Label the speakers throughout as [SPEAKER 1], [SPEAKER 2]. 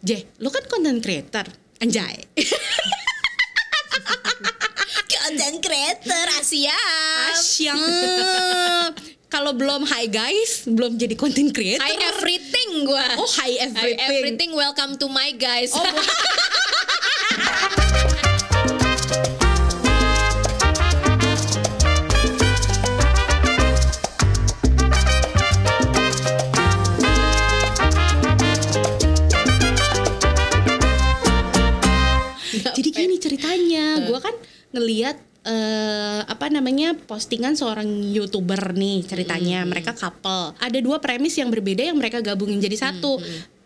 [SPEAKER 1] Jeh, lu kan content creator. Anjay.
[SPEAKER 2] Content creator Asia.
[SPEAKER 1] Asyam. Kalau belum hi guys, belum jadi content creator.
[SPEAKER 2] Hi everything gua.
[SPEAKER 1] Oh, hi
[SPEAKER 2] Hi
[SPEAKER 1] everything.
[SPEAKER 2] everything welcome to my guys.
[SPEAKER 1] Oh, bu- Jadi gini
[SPEAKER 2] ya? Eh.
[SPEAKER 1] ceritanya, gua kan ngeliat eh, apa namanya postingan seorang youtuber nih
[SPEAKER 2] Hmm,
[SPEAKER 1] ceritanya mereka couple ada dua premis yang berbeda yang mereka gabungin
[SPEAKER 2] Hmm,
[SPEAKER 1] jadi satu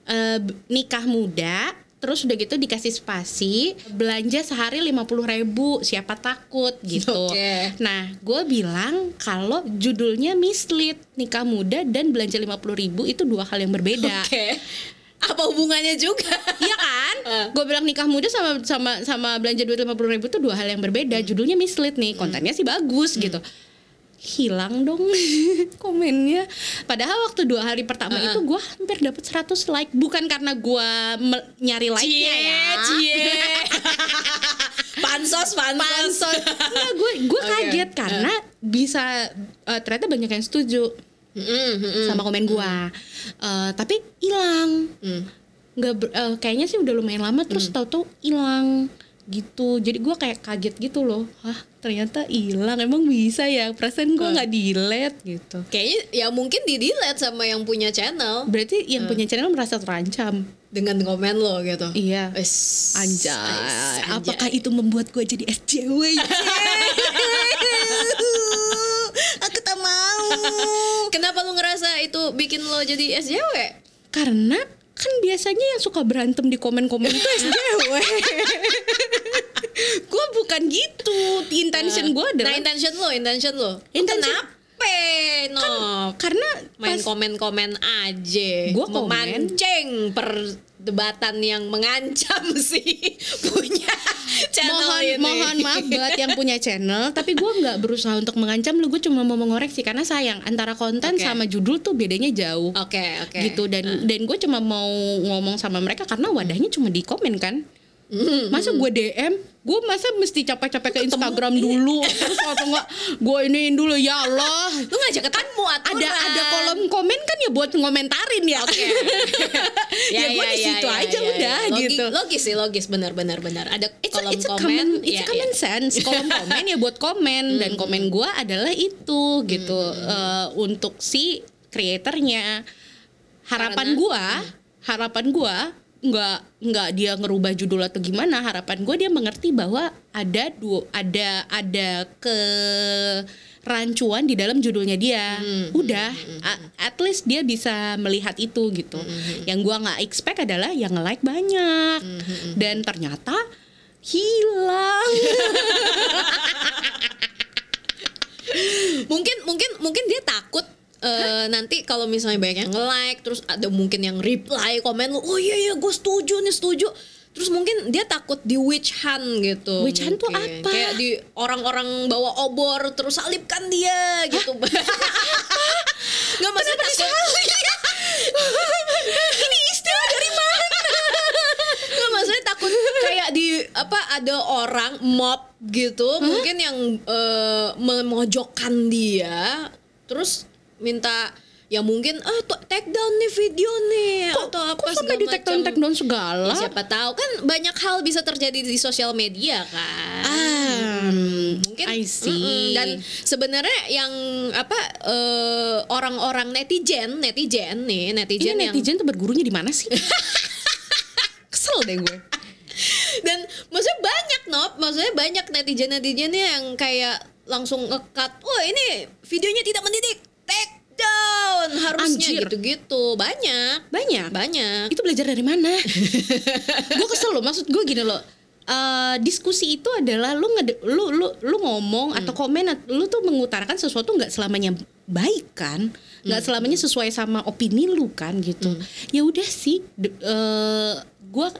[SPEAKER 1] Eh, b- nikah muda terus udah gitu dikasih spasi belanja sehari 50.000 ribu siapa takut gitu
[SPEAKER 2] Oke.
[SPEAKER 1] nah gue bilang kalau judulnya mislead nikah muda dan belanja 50.000 ribu itu dua hal yang berbeda
[SPEAKER 2] Oke. Apa hubungannya juga?
[SPEAKER 1] Iya kan?
[SPEAKER 2] Eh.
[SPEAKER 1] Gue bilang nikah muda sama sama sama belanja duit lima ribu itu dua hal yang berbeda.
[SPEAKER 2] Hmm.
[SPEAKER 1] Judulnya mislead nih, kontennya sih bagus gitu. Hilang dong komennya. Padahal waktu dua hari pertama
[SPEAKER 2] Eh,
[SPEAKER 1] itu gue hampir dapat 100 like, bukan karena gue nyari like-nya ya.
[SPEAKER 2] cie. pansos, pansos.
[SPEAKER 1] Pansos. Enggak, gue gue
[SPEAKER 2] Oke. eh.
[SPEAKER 1] kaget karena bisa eh, ternyata banyak yang setuju
[SPEAKER 2] Mm, mm, mm.
[SPEAKER 1] sama komen gue. Eh, tapi hilang.
[SPEAKER 2] Mm.
[SPEAKER 1] nggak ber- eh, kayaknya sih udah lumayan lama terus
[SPEAKER 2] Hmm.
[SPEAKER 1] tahu-tahu hilang gitu jadi gua kayak kaget gitu loh hah ternyata hilang emang bisa ya perasaan gua nggak delete gitu
[SPEAKER 2] Kayaknya ya mungkin di delete sama yang punya channel
[SPEAKER 1] berarti
[SPEAKER 2] Eh.
[SPEAKER 1] yang punya channel merasa terancam
[SPEAKER 2] dengan komen lo gitu.
[SPEAKER 1] iya
[SPEAKER 2] Wes,
[SPEAKER 1] anjay.
[SPEAKER 2] wes, anjay.
[SPEAKER 1] apakah itu membuat gua jadi SJW
[SPEAKER 2] Aku tak mau. Kenapa lu ngerasa itu bikin lo jadi SJW?
[SPEAKER 1] karena kan biasanya yang suka berantem di komen-komen itu SJW Gua bukan gitu intention gua
[SPEAKER 2] Nah
[SPEAKER 1] adalah
[SPEAKER 2] intention lo, intention lo. Lo
[SPEAKER 1] Intention-
[SPEAKER 2] Kenapa? No.
[SPEAKER 1] karena
[SPEAKER 2] main
[SPEAKER 1] pas-
[SPEAKER 2] komen-komen aja.
[SPEAKER 1] Gua komen.
[SPEAKER 2] memancing perdebatan yang mengancam sih punya channel
[SPEAKER 1] mohon
[SPEAKER 2] ini.
[SPEAKER 1] mohon maaf buat yang punya channel tapi gue nggak berusaha untuk mengancam lu gue cuma mau mengoreksi karena sayang antara konten
[SPEAKER 2] Oke.
[SPEAKER 1] sama judul tuh bedanya jauh
[SPEAKER 2] Oke, Nah. oke.
[SPEAKER 1] gitu dan dan gue cuma mau ngomong sama mereka karena wadahnya cuma di komen kan
[SPEAKER 2] Mm-hmm.
[SPEAKER 1] masa gue DM gue masa mesti capek-capek ke Instagram dulu terus atau enggak gue iniin dulu ya Allah
[SPEAKER 2] Lu ngajak ketanmu
[SPEAKER 1] Kan
[SPEAKER 2] aturan.
[SPEAKER 1] ada ada kolom komen kan ya buat ngomentarin ya
[SPEAKER 2] Oke.
[SPEAKER 1] ya, gue di situ aja
[SPEAKER 2] ya,
[SPEAKER 1] udah
[SPEAKER 2] ya. Logi-
[SPEAKER 1] gitu
[SPEAKER 2] Logis sih, logis benar-benar benar. Ada
[SPEAKER 1] It's a,
[SPEAKER 2] kolom
[SPEAKER 1] it's a
[SPEAKER 2] komen.
[SPEAKER 1] common, it's
[SPEAKER 2] ya,
[SPEAKER 1] a common
[SPEAKER 2] ya.
[SPEAKER 1] sense. Kolom komen ya buat komen
[SPEAKER 2] Mm-hmm.
[SPEAKER 1] dan komen gua adalah itu gitu Eh, untuk si kreatornya. Harapan
[SPEAKER 2] Karena-
[SPEAKER 1] gua, harapan gua nggak nggak dia ngerubah judul atau gimana. Harapan gua dia mengerti bahwa ada dua ada ada kerancuan di dalam judulnya dia. Udah, a- at least dia bisa melihat itu gitu. Yang gua nggak expect adalah yang like banyak dan ternyata hilang.
[SPEAKER 2] Mungkin mungkin mungkin dia takut eh, nanti kalau misalnya banyak yang like terus ada mungkin yang reply komen lu oh iya iya gue setuju nih setuju terus mungkin dia takut di witch hunt gitu
[SPEAKER 1] Witch hunt tuh
[SPEAKER 2] mungkin.
[SPEAKER 1] apa?
[SPEAKER 2] kayak di orang-orang bawa obor terus salibkan dia gitu nggak maksudnya takut ini istilah dari mana Nggak maksudnya takut kayak di apa ada orang mob gitu mungkin yang eh, memojokkan dia terus minta ya mungkin ah to- take down nih video nih atau apa
[SPEAKER 1] Kok sampai
[SPEAKER 2] segala
[SPEAKER 1] di take down
[SPEAKER 2] macam.
[SPEAKER 1] take down segala?
[SPEAKER 2] Ya, siapa tahu kan banyak hal bisa terjadi di sosial media kan
[SPEAKER 1] Ah,
[SPEAKER 2] hmm, mungkin
[SPEAKER 1] I see.
[SPEAKER 2] Mm-mm. dan sebenarnya yang apa eh, orang-orang netizen netizen
[SPEAKER 1] ini
[SPEAKER 2] nih netizen yang
[SPEAKER 1] netizen tuh bergurunya di mana sih? Kesel deh gue.
[SPEAKER 2] dan maksudnya banyak nop maksudnya banyak netizen netizennya yang kayak langsung ngekat wah ini videonya tidak mendidik take down harusnya
[SPEAKER 1] Anjir.
[SPEAKER 2] gitu-gitu banyak
[SPEAKER 1] Banyak.
[SPEAKER 2] banyak
[SPEAKER 1] Itu belajar dari mana? gue kesel loh. Maksud gue gini loh. eh, diskusi itu adalah lu ngede, lu lu lu ngomong
[SPEAKER 2] Hmm.
[SPEAKER 1] atau komen at- lu tuh mengutarakan sesuatu nggak selamanya baik kan nggak
[SPEAKER 2] Hmm.
[SPEAKER 1] selamanya sesuai sama opini lu kan gitu ya udah sih de- eh, gua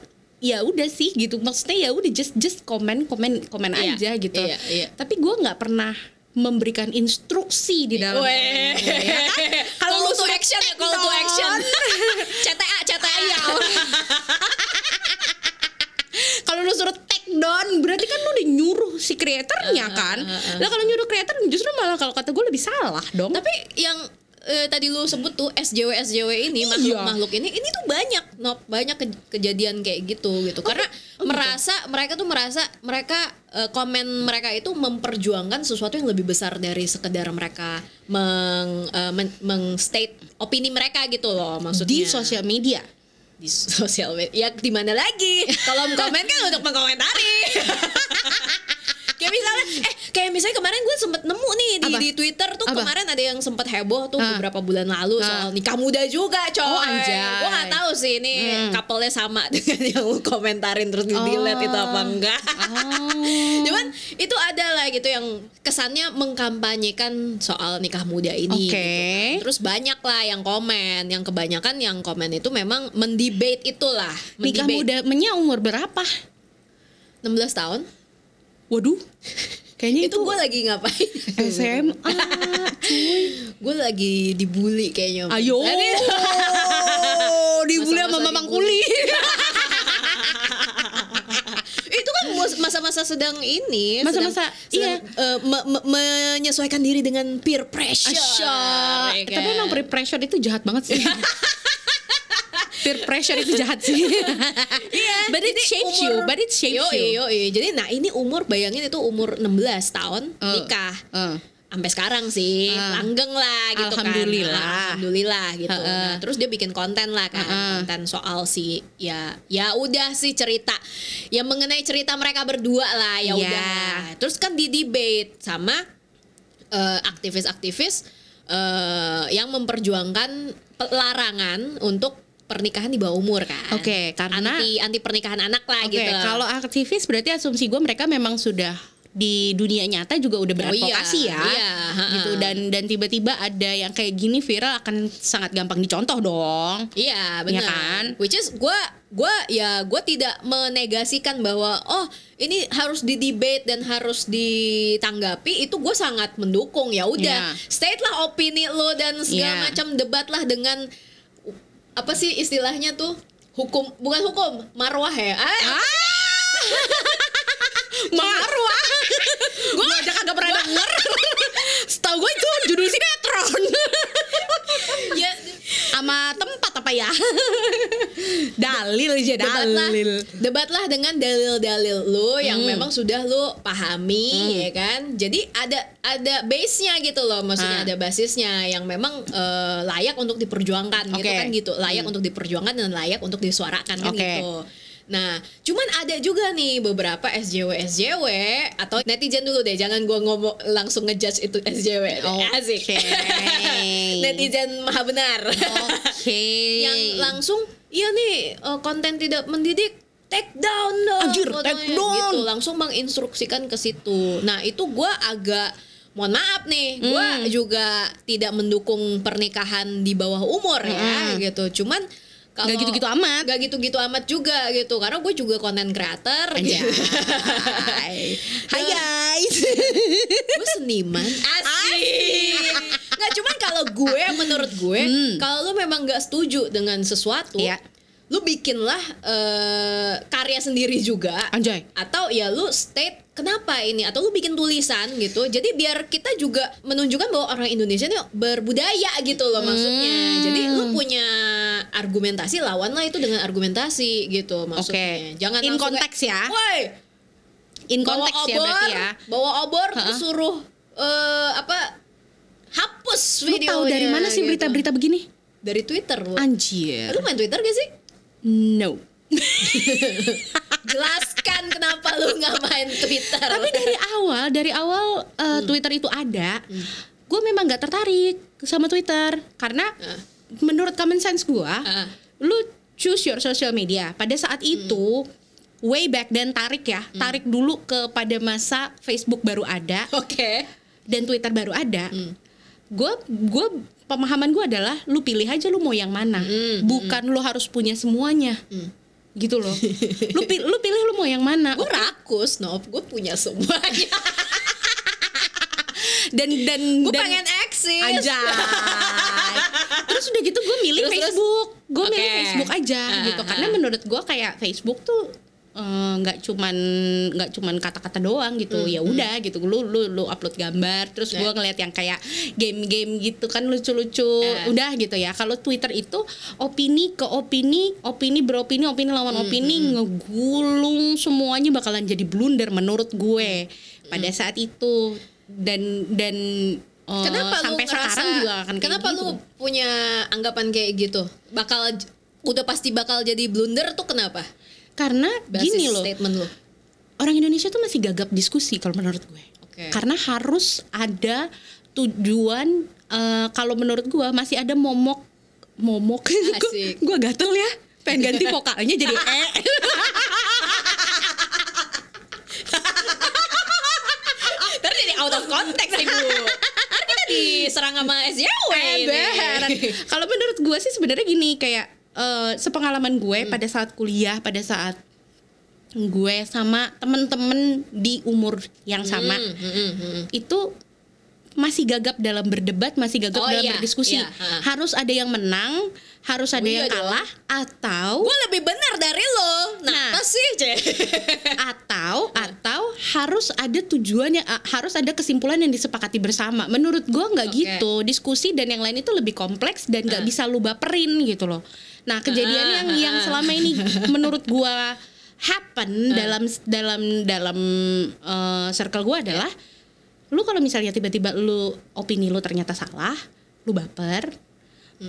[SPEAKER 1] ya udah sih gitu maksudnya ya udah just just komen komen komen
[SPEAKER 2] Iya,
[SPEAKER 1] aja gitu
[SPEAKER 2] iya, iya.
[SPEAKER 1] tapi gua nggak pernah memberikan instruksi di dalam komen
[SPEAKER 2] Weh.
[SPEAKER 1] gua, ya kan?
[SPEAKER 2] Kalau
[SPEAKER 1] Kalau lu
[SPEAKER 2] to action ya, call to action. CTA, CTA.
[SPEAKER 1] Iya. kan ya
[SPEAKER 2] Ah,
[SPEAKER 1] kan lah kalau nyuruh creator justru malah kalau kata gue lebih salah dong
[SPEAKER 2] Tapi oh. yang eh, tadi lu sebut tuh SJW SJW ini
[SPEAKER 1] Iya.
[SPEAKER 2] makhluk-makhluk ini ini tuh banyak Nop, banyak ke- kejadian kayak gitu gitu.
[SPEAKER 1] Oh,
[SPEAKER 2] Karena merasa mereka tuh merasa mereka eh, komen mereka itu memperjuangkan sesuatu yang lebih besar dari sekedar mereka meng eh, men- mengstate opini mereka gitu loh maksudnya.
[SPEAKER 1] di sosial media
[SPEAKER 2] di sosial media ya di mana lagi kolom komen kan untuk mengkomentari kayak misalnya eh kayak misalnya kemarin gue sempet nemu nih di,
[SPEAKER 1] Apa?
[SPEAKER 2] di Twitter tuh
[SPEAKER 1] Apa?
[SPEAKER 2] kemarin Kan ada yang sempet heboh tuh
[SPEAKER 1] Ah.
[SPEAKER 2] beberapa bulan lalu
[SPEAKER 1] Ah.
[SPEAKER 2] soal nikah muda juga coy
[SPEAKER 1] Oh, anjay. Hmm.
[SPEAKER 2] gue nggak tahu sih ini couple-nya sama dengan yang lu komentarin terus di delete itu apa
[SPEAKER 1] Oh.
[SPEAKER 2] enggak cuman itu ada lah gitu yang kesannya mengkampanyekan soal nikah muda
[SPEAKER 1] Oke.
[SPEAKER 2] ini gitu kan. terus banyak lah yang komen yang kebanyakan yang komen itu memang mendebate itulah
[SPEAKER 1] nikah
[SPEAKER 2] mendebate.
[SPEAKER 1] muda menya umur berapa
[SPEAKER 2] 16 tahun
[SPEAKER 1] waduh kayaknya Iya, itu,
[SPEAKER 2] itu gue lagi ngapain
[SPEAKER 1] SMA
[SPEAKER 2] gue lagi dibully kayaknya Nah,
[SPEAKER 1] ayo
[SPEAKER 2] Jadi,
[SPEAKER 1] dibully sama
[SPEAKER 2] Masa-masa
[SPEAKER 1] mamang
[SPEAKER 2] dibully.
[SPEAKER 1] kuli
[SPEAKER 2] itu kan mus- masa-masa sedang ini sedang-
[SPEAKER 1] Masa-masa, iya.
[SPEAKER 2] sedang, eh, me- me- menyesuaikan diri dengan peer pressure
[SPEAKER 1] Asyik.
[SPEAKER 2] ya
[SPEAKER 1] Eh, Tapi
[SPEAKER 2] kan?
[SPEAKER 1] emang peer pressure itu jahat banget sih. peer pressure itu jahat sih.
[SPEAKER 2] Iya.
[SPEAKER 1] But it
[SPEAKER 2] jadi
[SPEAKER 1] shapes
[SPEAKER 2] umur-
[SPEAKER 1] you, but it shapes
[SPEAKER 2] Yoi,
[SPEAKER 1] you.
[SPEAKER 2] yoi. Jadi nah ini umur bayangin itu umur 16 tahun
[SPEAKER 1] Eh,
[SPEAKER 2] nikah.
[SPEAKER 1] eh.
[SPEAKER 2] Sampai sekarang sih
[SPEAKER 1] Ah.
[SPEAKER 2] langgeng lah gitu
[SPEAKER 1] Alhamdulillah.
[SPEAKER 2] kan. Alhamdulillah gitu.
[SPEAKER 1] Heeh.
[SPEAKER 2] Nah, terus dia bikin konten lah kan,
[SPEAKER 1] Heeh.
[SPEAKER 2] konten soal si ya ya udah sih cerita ya mengenai cerita mereka berdua lah
[SPEAKER 1] Ya.
[SPEAKER 2] ya udah. Terus kan di debate sama eh, aktivis-aktivis eh, yang memperjuangkan pe- larangan untuk pernikahan di bawah umur kan.
[SPEAKER 1] Oke, karena-
[SPEAKER 2] anti anti pernikahan anak lah
[SPEAKER 1] Oke,
[SPEAKER 2] gitu.
[SPEAKER 1] kalau aktivis berarti asumsi gue mereka memang sudah di dunia nyata juga udah beradvokasi
[SPEAKER 2] iya,
[SPEAKER 1] ya.
[SPEAKER 2] iya, ha-ha.
[SPEAKER 1] Gitu dan dan tiba-tiba ada yang kayak gini viral akan sangat gampang dicontoh dong. Iya
[SPEAKER 2] Iya benar.
[SPEAKER 1] kan?
[SPEAKER 2] Which is gue gua ya gue tidak menegasikan bahwa oh ini harus di debate dan harus ditanggapi itu gue sangat mendukung ya
[SPEAKER 1] Iya.
[SPEAKER 2] udah state lah opini lo dan
[SPEAKER 1] Iya.
[SPEAKER 2] segala macam debat lah dengan apa sih istilahnya tuh hukum bukan hukum marwah ya ah,
[SPEAKER 1] Marwah. gue ah. aja kagak pernah denger. Setahu gue itu judul sinetron.
[SPEAKER 2] ya
[SPEAKER 1] Sama tempat apa ya? dalil aja
[SPEAKER 2] Iya, debatlah
[SPEAKER 1] dalil.
[SPEAKER 2] debatlah dengan dalil-dalil lo yang
[SPEAKER 1] Hmm.
[SPEAKER 2] memang sudah lo pahami ya kan jadi ada ada base nya gitu loh
[SPEAKER 1] Ah.
[SPEAKER 2] maksudnya ada basisnya yang memang eh, layak untuk diperjuangkan gitu
[SPEAKER 1] Oke. Hmm.
[SPEAKER 2] kan gitu layak untuk diperjuangkan dan layak untuk disuarakan kan
[SPEAKER 1] Oke.
[SPEAKER 2] gitu Nah, cuman ada juga nih beberapa SJW SJW atau netizen dulu deh, jangan gua ngomong langsung ngejudge itu SJW.
[SPEAKER 1] Oke.
[SPEAKER 2] Asik. netizen maha benar
[SPEAKER 1] Oke.
[SPEAKER 2] yang langsung iya nih eh, konten tidak mendidik take down dong
[SPEAKER 1] Anjir,
[SPEAKER 2] fotonya."
[SPEAKER 1] take down.
[SPEAKER 2] gitu langsung menginstruksikan ke situ nah itu gua agak mohon maaf nih gua
[SPEAKER 1] Hmm.
[SPEAKER 2] juga tidak mendukung pernikahan di bawah umur ya gitu cuman kalau
[SPEAKER 1] Hmm. Nggak gitu-gitu amat.
[SPEAKER 2] gak gitu-gitu amat juga gitu karena gue juga konten creator
[SPEAKER 1] Anjay.
[SPEAKER 2] gitu.
[SPEAKER 1] Hai guys.
[SPEAKER 2] gue seniman asik nggak cuman kalau gue menurut gue
[SPEAKER 1] Hmm.
[SPEAKER 2] kalau lu memang nggak setuju dengan sesuatu
[SPEAKER 1] Iya.
[SPEAKER 2] lu bikinlah eh, karya sendiri juga
[SPEAKER 1] Anjay.
[SPEAKER 2] atau ya lu state kenapa ini atau lu bikin tulisan gitu jadi biar kita juga menunjukkan bahwa orang Indonesia ini berbudaya gitu loh maksudnya
[SPEAKER 1] Hmm.
[SPEAKER 2] jadi lu punya argumentasi lawanlah itu dengan argumentasi gitu maksudnya
[SPEAKER 1] Oke.
[SPEAKER 2] jangan
[SPEAKER 1] In
[SPEAKER 2] langsung kayak,
[SPEAKER 1] konteks ya.
[SPEAKER 2] "Woi,
[SPEAKER 1] In
[SPEAKER 2] bawa
[SPEAKER 1] konteks
[SPEAKER 2] obor,
[SPEAKER 1] ya berarti ya.
[SPEAKER 2] bawa obor terus
[SPEAKER 1] Ha-ha.
[SPEAKER 2] suruh eh, apa hapus
[SPEAKER 1] Lu
[SPEAKER 2] video
[SPEAKER 1] tahu dari mana sih berita-berita begini?
[SPEAKER 2] dari Twitter lu.
[SPEAKER 1] gitu. Anjir.
[SPEAKER 2] Lu main Twitter gak sih?
[SPEAKER 1] No.
[SPEAKER 2] Jelaskan kenapa lu nggak main Twitter.
[SPEAKER 1] Tapi dari awal, dari awal uh, Twitter itu ada, gue memang nggak tertarik sama Twitter karena
[SPEAKER 2] Ah.
[SPEAKER 1] menurut common sense gue,
[SPEAKER 2] Ah.
[SPEAKER 1] lu choose your social media. Pada saat itu, way back then tarik ya, tarik dulu ke pada masa Facebook baru ada
[SPEAKER 2] Oke.
[SPEAKER 1] dan Twitter baru ada. Gue gue pemahaman gue adalah lu pilih aja lu mau yang mana,
[SPEAKER 2] Hmm,
[SPEAKER 1] bukan lu harus punya semuanya.
[SPEAKER 2] Hmm.
[SPEAKER 1] Gitu loh. lu pi- lu pilih lu mau yang mana.
[SPEAKER 2] Gue rakus, Nov. Gue punya semuanya.
[SPEAKER 1] Dan dan
[SPEAKER 2] Gue
[SPEAKER 1] dan-
[SPEAKER 2] pengen eksis.
[SPEAKER 1] Anjay. terus udah gitu gue milih
[SPEAKER 2] Terus, terus.
[SPEAKER 1] Facebook. Gue milih
[SPEAKER 2] Oke.
[SPEAKER 1] Facebook aja
[SPEAKER 2] Ah,
[SPEAKER 1] gitu
[SPEAKER 2] ah,
[SPEAKER 1] karena
[SPEAKER 2] ah.
[SPEAKER 1] menurut gue kayak Facebook tuh eh, nggak cuman nggak cuman kata-kata doang gitu ya udah gitu lu lu lu upload gambar terus
[SPEAKER 2] Hmm, Ya.
[SPEAKER 1] gua ngeliat yang kayak game-game gitu kan lucu-lucu
[SPEAKER 2] Ya.
[SPEAKER 1] udah gitu ya kalau Twitter itu opini ke opini opini beropini opini
[SPEAKER 2] Hmm,
[SPEAKER 1] lawan opini ngegulung semuanya bakalan jadi blunder menurut gue
[SPEAKER 2] Hmm,
[SPEAKER 1] pada saat itu dan dan eh,
[SPEAKER 2] Kenapa lu
[SPEAKER 1] sampai
[SPEAKER 2] ngerasa-
[SPEAKER 1] sekarang juga akan kayak
[SPEAKER 2] Kenapa
[SPEAKER 1] gitu.
[SPEAKER 2] lu punya anggapan kayak gitu? Bakal udah pasti bakal jadi blunder tuh kenapa?
[SPEAKER 1] karena
[SPEAKER 2] Basis
[SPEAKER 1] gini loh
[SPEAKER 2] statement lu.
[SPEAKER 1] orang Indonesia tuh masih gagap diskusi kalau menurut gue.
[SPEAKER 2] Oke.
[SPEAKER 1] Karena harus ada tujuan eh, kalau menurut gue masih ada momok momok.
[SPEAKER 2] Asik.
[SPEAKER 1] gue gatel ya. Pengen ganti vokalnya jadi e.
[SPEAKER 2] Ntar jadi out of context ibu. Ntar kita diserang sama SJW ini.
[SPEAKER 1] Eh, Beneran. Kalau menurut gue sih sebenarnya gini kayak eh, sepengalaman
[SPEAKER 2] Hmm.
[SPEAKER 1] gue pada saat kuliah, pada saat gue sama temen-temen di umur yang sama
[SPEAKER 2] Hmm, hmm, hmm, hmm.
[SPEAKER 1] itu masih gagap dalam berdebat, masih gagap
[SPEAKER 2] Oh,
[SPEAKER 1] dalam
[SPEAKER 2] iya,
[SPEAKER 1] berdiskusi.
[SPEAKER 2] iya, ha.
[SPEAKER 1] Harus ada yang menang, harus ada
[SPEAKER 2] iya
[SPEAKER 1] yang
[SPEAKER 2] dong.
[SPEAKER 1] kalah, atau
[SPEAKER 2] Gue lebih benar dari lo. Nah,
[SPEAKER 1] Nah.
[SPEAKER 2] apa sih, Ce?
[SPEAKER 1] atau atau harus ada tujuannya, a- harus ada kesimpulan yang disepakati bersama. Menurut gua nggak
[SPEAKER 2] Oke.
[SPEAKER 1] gitu. Diskusi dan yang lain itu lebih kompleks dan nggak
[SPEAKER 2] Ah.
[SPEAKER 1] bisa lu baperin gitu loh. Nah kejadian
[SPEAKER 2] Ah,
[SPEAKER 1] yang
[SPEAKER 2] ah,
[SPEAKER 1] yang
[SPEAKER 2] ah.
[SPEAKER 1] selama ini menurut gua happen dalam dalam dalam eh, circle gua adalah lu kalau misalnya tiba-tiba lu opini lu ternyata salah, lu baper.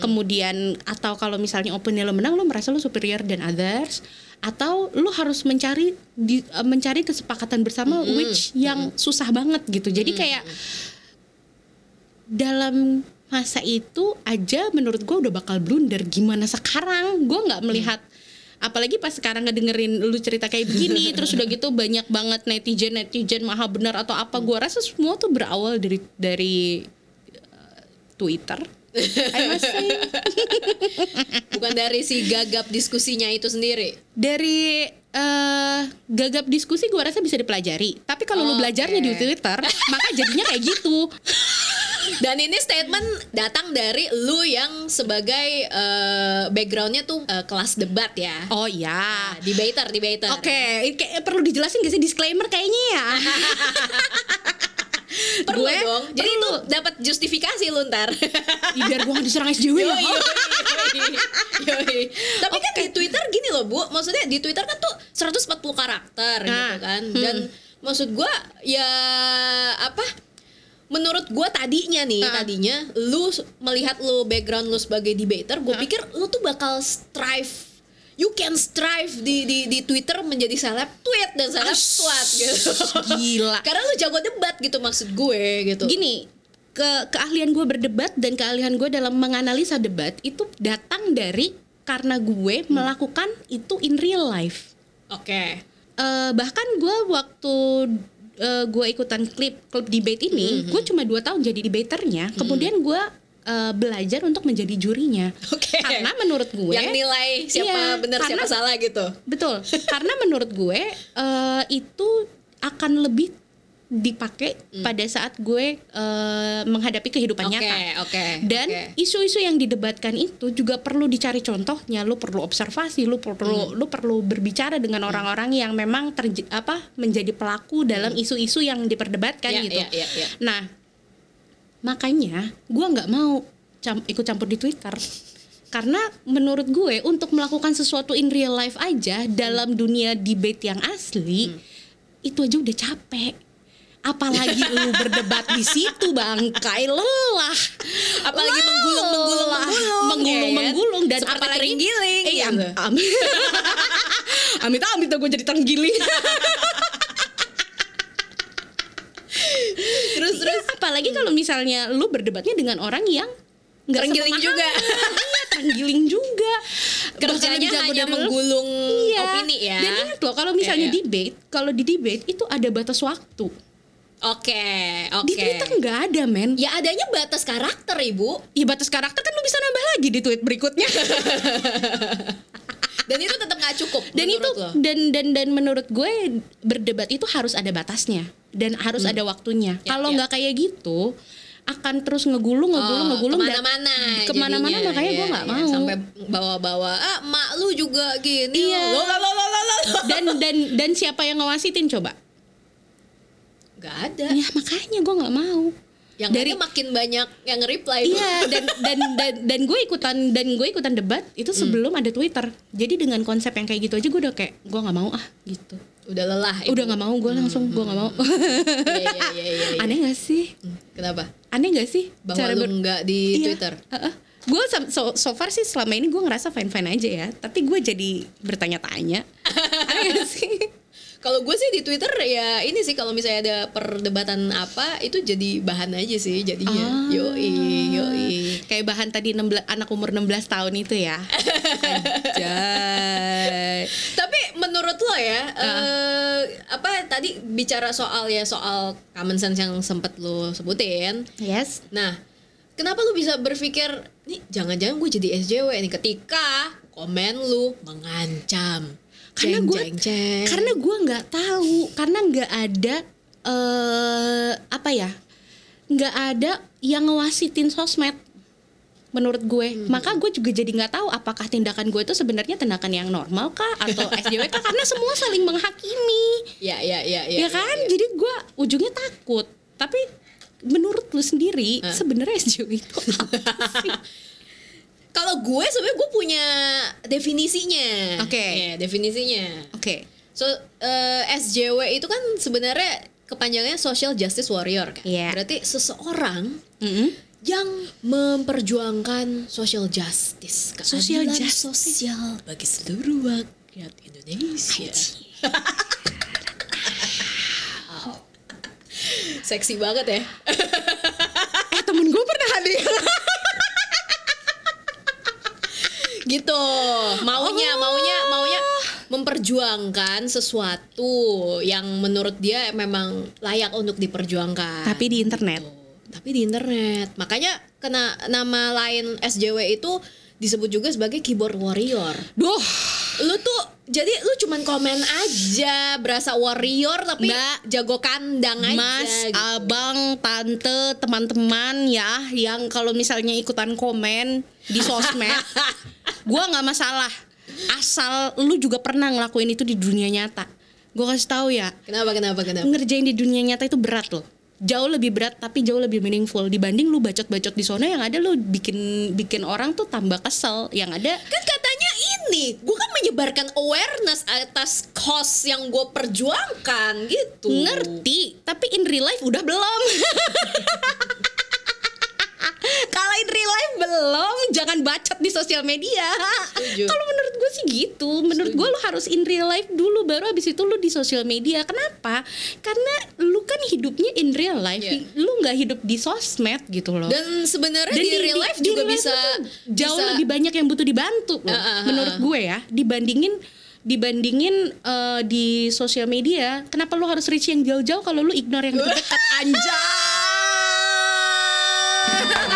[SPEAKER 1] Kemudian atau kalau misalnya opini lu menang lu merasa lu superior than others atau lu harus mencari di, eh, mencari kesepakatan bersama which yang susah banget gitu. Jadi kayak dalam masa itu aja menurut gue udah bakal blunder gimana sekarang gue nggak melihat apalagi pas sekarang ngedengerin lu cerita kayak begini terus udah gitu banyak banget netizen netizen maha benar atau apa gue rasa semua tuh berawal dari dari uh, Twitter I must say.
[SPEAKER 2] Bukan dari si gagap diskusinya itu sendiri.
[SPEAKER 1] dari eh, gagap diskusi gue rasa bisa dipelajari tapi kalau lu
[SPEAKER 2] Oke.
[SPEAKER 1] belajarnya di Twitter maka jadinya kayak gitu
[SPEAKER 2] Dan ini statement datang dari lu yang sebagai eh, backgroundnya tuh eh, kelas debat ya.
[SPEAKER 1] oh ya
[SPEAKER 2] Nah, debater, debater.
[SPEAKER 1] Oke, ini kayak perlu dijelasin gak sih disclaimer kayaknya ya?
[SPEAKER 2] Perlu
[SPEAKER 1] Gue
[SPEAKER 2] dong. Jadi
[SPEAKER 1] perlu.
[SPEAKER 2] lu dapat justifikasi lu ntar.
[SPEAKER 1] Ih, biar gue gak diserang SJW ya.
[SPEAKER 2] Yoi, yoi, yoi. Tapi kan di Twitter gini loh, Bu. Maksudnya di Twitter kan tuh 140 karakter gitu
[SPEAKER 1] Nah,
[SPEAKER 2] kan. Dan maksud gua ya apa? Menurut gua tadinya nih,
[SPEAKER 1] Ah.
[SPEAKER 2] tadinya lu s- melihat lu background lu sebagai debater, gua pikir lu tuh bakal strive You can strive di di di Twitter menjadi seleb tweet dan seleb
[SPEAKER 1] Ash,
[SPEAKER 2] tweet gitu.
[SPEAKER 1] Gila.
[SPEAKER 2] Karena lu jago debat gitu maksud gue gitu.
[SPEAKER 1] Gini, ke keahlian gue berdebat dan keahlian gue dalam menganalisa debat itu datang dari karena gue melakukan itu in real life.
[SPEAKER 2] Oke.
[SPEAKER 1] Eh, bahkan gue waktu eh, gue ikutan klip klub debate ini, gue cuma dua tahun jadi debaternya. Kemudian gue eh, belajar untuk menjadi jurinya.
[SPEAKER 2] Oke.
[SPEAKER 1] Karena menurut gue
[SPEAKER 2] Yang nilai siapa
[SPEAKER 1] Iya,
[SPEAKER 2] benar siapa
[SPEAKER 1] karena-
[SPEAKER 2] salah gitu.
[SPEAKER 1] Betul, karena menurut gue eh, itu akan lebih dipakai pada saat gue eh, menghadapi kehidupan
[SPEAKER 2] Oke,
[SPEAKER 1] nyata.
[SPEAKER 2] oke.
[SPEAKER 1] Dan
[SPEAKER 2] oke.
[SPEAKER 1] isu-isu yang didebatkan itu juga perlu dicari contohnya. Lu perlu observasi, lu perlu
[SPEAKER 2] Hmm.
[SPEAKER 1] lu perlu berbicara dengan orang-orang yang memang terje- apa menjadi pelaku dalam
[SPEAKER 2] Hmm.
[SPEAKER 1] isu-isu yang diperdebatkan
[SPEAKER 2] Iya,
[SPEAKER 1] gitu.
[SPEAKER 2] iya, iya, iya.
[SPEAKER 1] Nah, makanya gua nggak mau cam- ikut campur di Twitter. Karena menurut gue untuk melakukan sesuatu in real life aja dalam dunia debate yang asli
[SPEAKER 2] Hmm.
[SPEAKER 1] itu aja udah capek. Apalagi lu berdebat di situ bangkai lelah.
[SPEAKER 2] apalagi menggulung menggulung
[SPEAKER 1] Lelah.
[SPEAKER 2] menggulung
[SPEAKER 1] menggulung,
[SPEAKER 2] ya kan?
[SPEAKER 1] menggulung, dan
[SPEAKER 2] Seperti
[SPEAKER 1] apalagi-
[SPEAKER 2] terenggiling
[SPEAKER 1] Eh,
[SPEAKER 2] gitu.
[SPEAKER 1] am, am, amit amit gue jadi terenggiling.
[SPEAKER 2] terus
[SPEAKER 1] Iya,
[SPEAKER 2] terus
[SPEAKER 1] apalagi kalau misalnya lu berdebatnya dengan orang yang nggak
[SPEAKER 2] Terenggiling
[SPEAKER 1] sepemahaman.
[SPEAKER 2] juga.
[SPEAKER 1] Iya, terenggiling juga. Bakalan
[SPEAKER 2] kerjanya
[SPEAKER 1] jago
[SPEAKER 2] hanya
[SPEAKER 1] dari lu.
[SPEAKER 2] menggulung
[SPEAKER 1] Iya.
[SPEAKER 2] opini ya
[SPEAKER 1] Dan ingat loh kalau misalnya
[SPEAKER 2] Iya, iya.
[SPEAKER 1] debate, kalau di debate itu ada batas waktu.
[SPEAKER 2] oke
[SPEAKER 1] Di
[SPEAKER 2] oke
[SPEAKER 1] Twitter nggak ada, men.
[SPEAKER 2] ya adanya batas karakter ibu
[SPEAKER 1] Ya batas karakter kan lu bisa nambah lagi di tweet berikutnya.
[SPEAKER 2] dan itu tetap nggak cukup
[SPEAKER 1] dan itu
[SPEAKER 2] menurut lo.
[SPEAKER 1] dan dan dan menurut gue berdebat itu harus ada batasnya dan harus ada waktunya.
[SPEAKER 2] Ya,
[SPEAKER 1] kalau
[SPEAKER 2] ya.
[SPEAKER 1] nggak kayak gitu akan terus ngegulung ngegulung
[SPEAKER 2] Oh,
[SPEAKER 1] ngegulung dan-
[SPEAKER 2] kemana-mana
[SPEAKER 1] kemana-mana
[SPEAKER 2] jadinya.
[SPEAKER 1] makanya gue
[SPEAKER 2] Iya,
[SPEAKER 1] nggak
[SPEAKER 2] iya.
[SPEAKER 1] mau
[SPEAKER 2] sampai bawa-bawa ah mak lu juga gini
[SPEAKER 1] Iya.
[SPEAKER 2] lo lo lo lo lo lo
[SPEAKER 1] dan dan dan siapa yang ngawasitin coba
[SPEAKER 2] nggak ada
[SPEAKER 1] ya makanya gue nggak mau
[SPEAKER 2] yang
[SPEAKER 1] Dari-
[SPEAKER 2] ada makin banyak yang reply
[SPEAKER 1] iya dan dan dan, dan gue ikutan dan gue ikutan debat itu sebelum ada Twitter jadi dengan konsep yang kayak gitu aja gue udah kayak gue nggak mau ah gitu
[SPEAKER 2] udah lelah
[SPEAKER 1] udah nggak mau gue langsung gue nggak mau
[SPEAKER 2] Iya, iya, iya, iya, iya.
[SPEAKER 1] aneh nggak sih
[SPEAKER 2] Hmm, kenapa
[SPEAKER 1] aneh nggak sih
[SPEAKER 2] bahwa lu nggak di
[SPEAKER 1] Iya.
[SPEAKER 2] Twitter
[SPEAKER 1] Heeh. Gue sam- so, so far sih selama ini gue ngerasa fine fine aja ya, tapi gue jadi bertanya-tanya. Aneh gak sih?
[SPEAKER 2] Kalau gue sih di Twitter ya ini sih kalau misalnya ada perdebatan apa itu jadi bahan aja sih
[SPEAKER 1] Ah.
[SPEAKER 2] jadinya. Iya, Yoi, yoi.
[SPEAKER 1] Kayak bahan tadi 16, anak umur 16 tahun itu ya. Anjay.
[SPEAKER 2] Tapi menurut lo ya
[SPEAKER 1] Ah.
[SPEAKER 2] eh, apa tadi bicara soal ya soal common sense yang sempet lo sebutin.
[SPEAKER 1] Yes.
[SPEAKER 2] Nah, kenapa lu bisa berpikir nih jangan-jangan gue jadi SJW nih ketika komen lu mengancam.
[SPEAKER 1] Karena
[SPEAKER 2] Ceng,
[SPEAKER 1] gue
[SPEAKER 2] ceng, ceng.
[SPEAKER 1] karena gue nggak tahu, karena nggak ada eh apa ya? nggak ada yang ngewasitin sosmed menurut gue
[SPEAKER 2] Hmm.
[SPEAKER 1] maka gue juga jadi nggak tahu apakah tindakan gue itu sebenarnya tindakan yang normal kah atau SJW kah karena semua saling menghakimi
[SPEAKER 2] ya ya ya ya.
[SPEAKER 1] ya kan jadi gue ujungnya takut tapi menurut lu sendiri
[SPEAKER 2] Hah?
[SPEAKER 1] sebenarnya SJW itu apa sih?
[SPEAKER 2] Kalau gue sebenarnya gue punya definisinya.
[SPEAKER 1] Oke.
[SPEAKER 2] Ya, definisinya.
[SPEAKER 1] oke
[SPEAKER 2] So eh, SJW itu kan sebenarnya kepanjangannya Social Justice Warrior kan.
[SPEAKER 1] Iya.
[SPEAKER 2] Berarti seseorang
[SPEAKER 1] Mm-mm.
[SPEAKER 2] yang memperjuangkan social justice,
[SPEAKER 1] Social
[SPEAKER 2] keadilan
[SPEAKER 1] justice.
[SPEAKER 2] sosial bagi seluruh rakyat Indonesia. Seksi banget ya.
[SPEAKER 1] eh temen gue pernah hadir
[SPEAKER 2] gitu maunya
[SPEAKER 1] Oh.
[SPEAKER 2] maunya maunya memperjuangkan sesuatu yang menurut dia memang layak untuk diperjuangkan Gitu.
[SPEAKER 1] tapi di internet
[SPEAKER 2] tapi di internet makanya kena nama lain SJW itu disebut juga sebagai keyboard warrior
[SPEAKER 1] duh
[SPEAKER 2] lu tuh jadi lu cuman komen aja berasa warrior tapi
[SPEAKER 1] Mbak,
[SPEAKER 2] jago kandang aja
[SPEAKER 1] Mas,
[SPEAKER 2] gitu.
[SPEAKER 1] abang, tante, teman-teman ya yang kalau misalnya ikutan komen di sosmed, gua nggak masalah. Asal lu juga pernah ngelakuin itu di dunia nyata. Gua kasih tahu ya,
[SPEAKER 2] kenapa kenapa kenapa
[SPEAKER 1] ngerjain di dunia nyata itu berat loh. Jauh lebih berat tapi jauh lebih meaningful dibanding lu bacot-bacot di sana yang ada lu bikin bikin orang tuh tambah kesel. Yang ada
[SPEAKER 2] kan katanya ini gue kan menyebarkan awareness atas cause yang gue perjuangkan gitu
[SPEAKER 1] ngerti tapi in real life udah belum kalau in real life belum jangan bacot di sosial media
[SPEAKER 2] Setuju.
[SPEAKER 1] kalau menurut gue sih gitu menurut gue lu harus in real life dulu baru abis itu lu di sosial media kenapa karena lu kan hidupnya in real life
[SPEAKER 2] Iya.
[SPEAKER 1] lu nggak hidup di sosmed gitu loh
[SPEAKER 2] dan sebenarnya di, real life
[SPEAKER 1] di
[SPEAKER 2] juga
[SPEAKER 1] real life
[SPEAKER 2] bisa
[SPEAKER 1] tuh jauh
[SPEAKER 2] bisa-
[SPEAKER 1] lebih banyak yang butuh dibantu loh.
[SPEAKER 2] Ah, ah, ah,
[SPEAKER 1] menurut
[SPEAKER 2] ah.
[SPEAKER 1] gue ya dibandingin dibandingin eh, di sosial media kenapa lu harus reach yang jauh-jauh kalau lu ignore yang dekat
[SPEAKER 2] anjay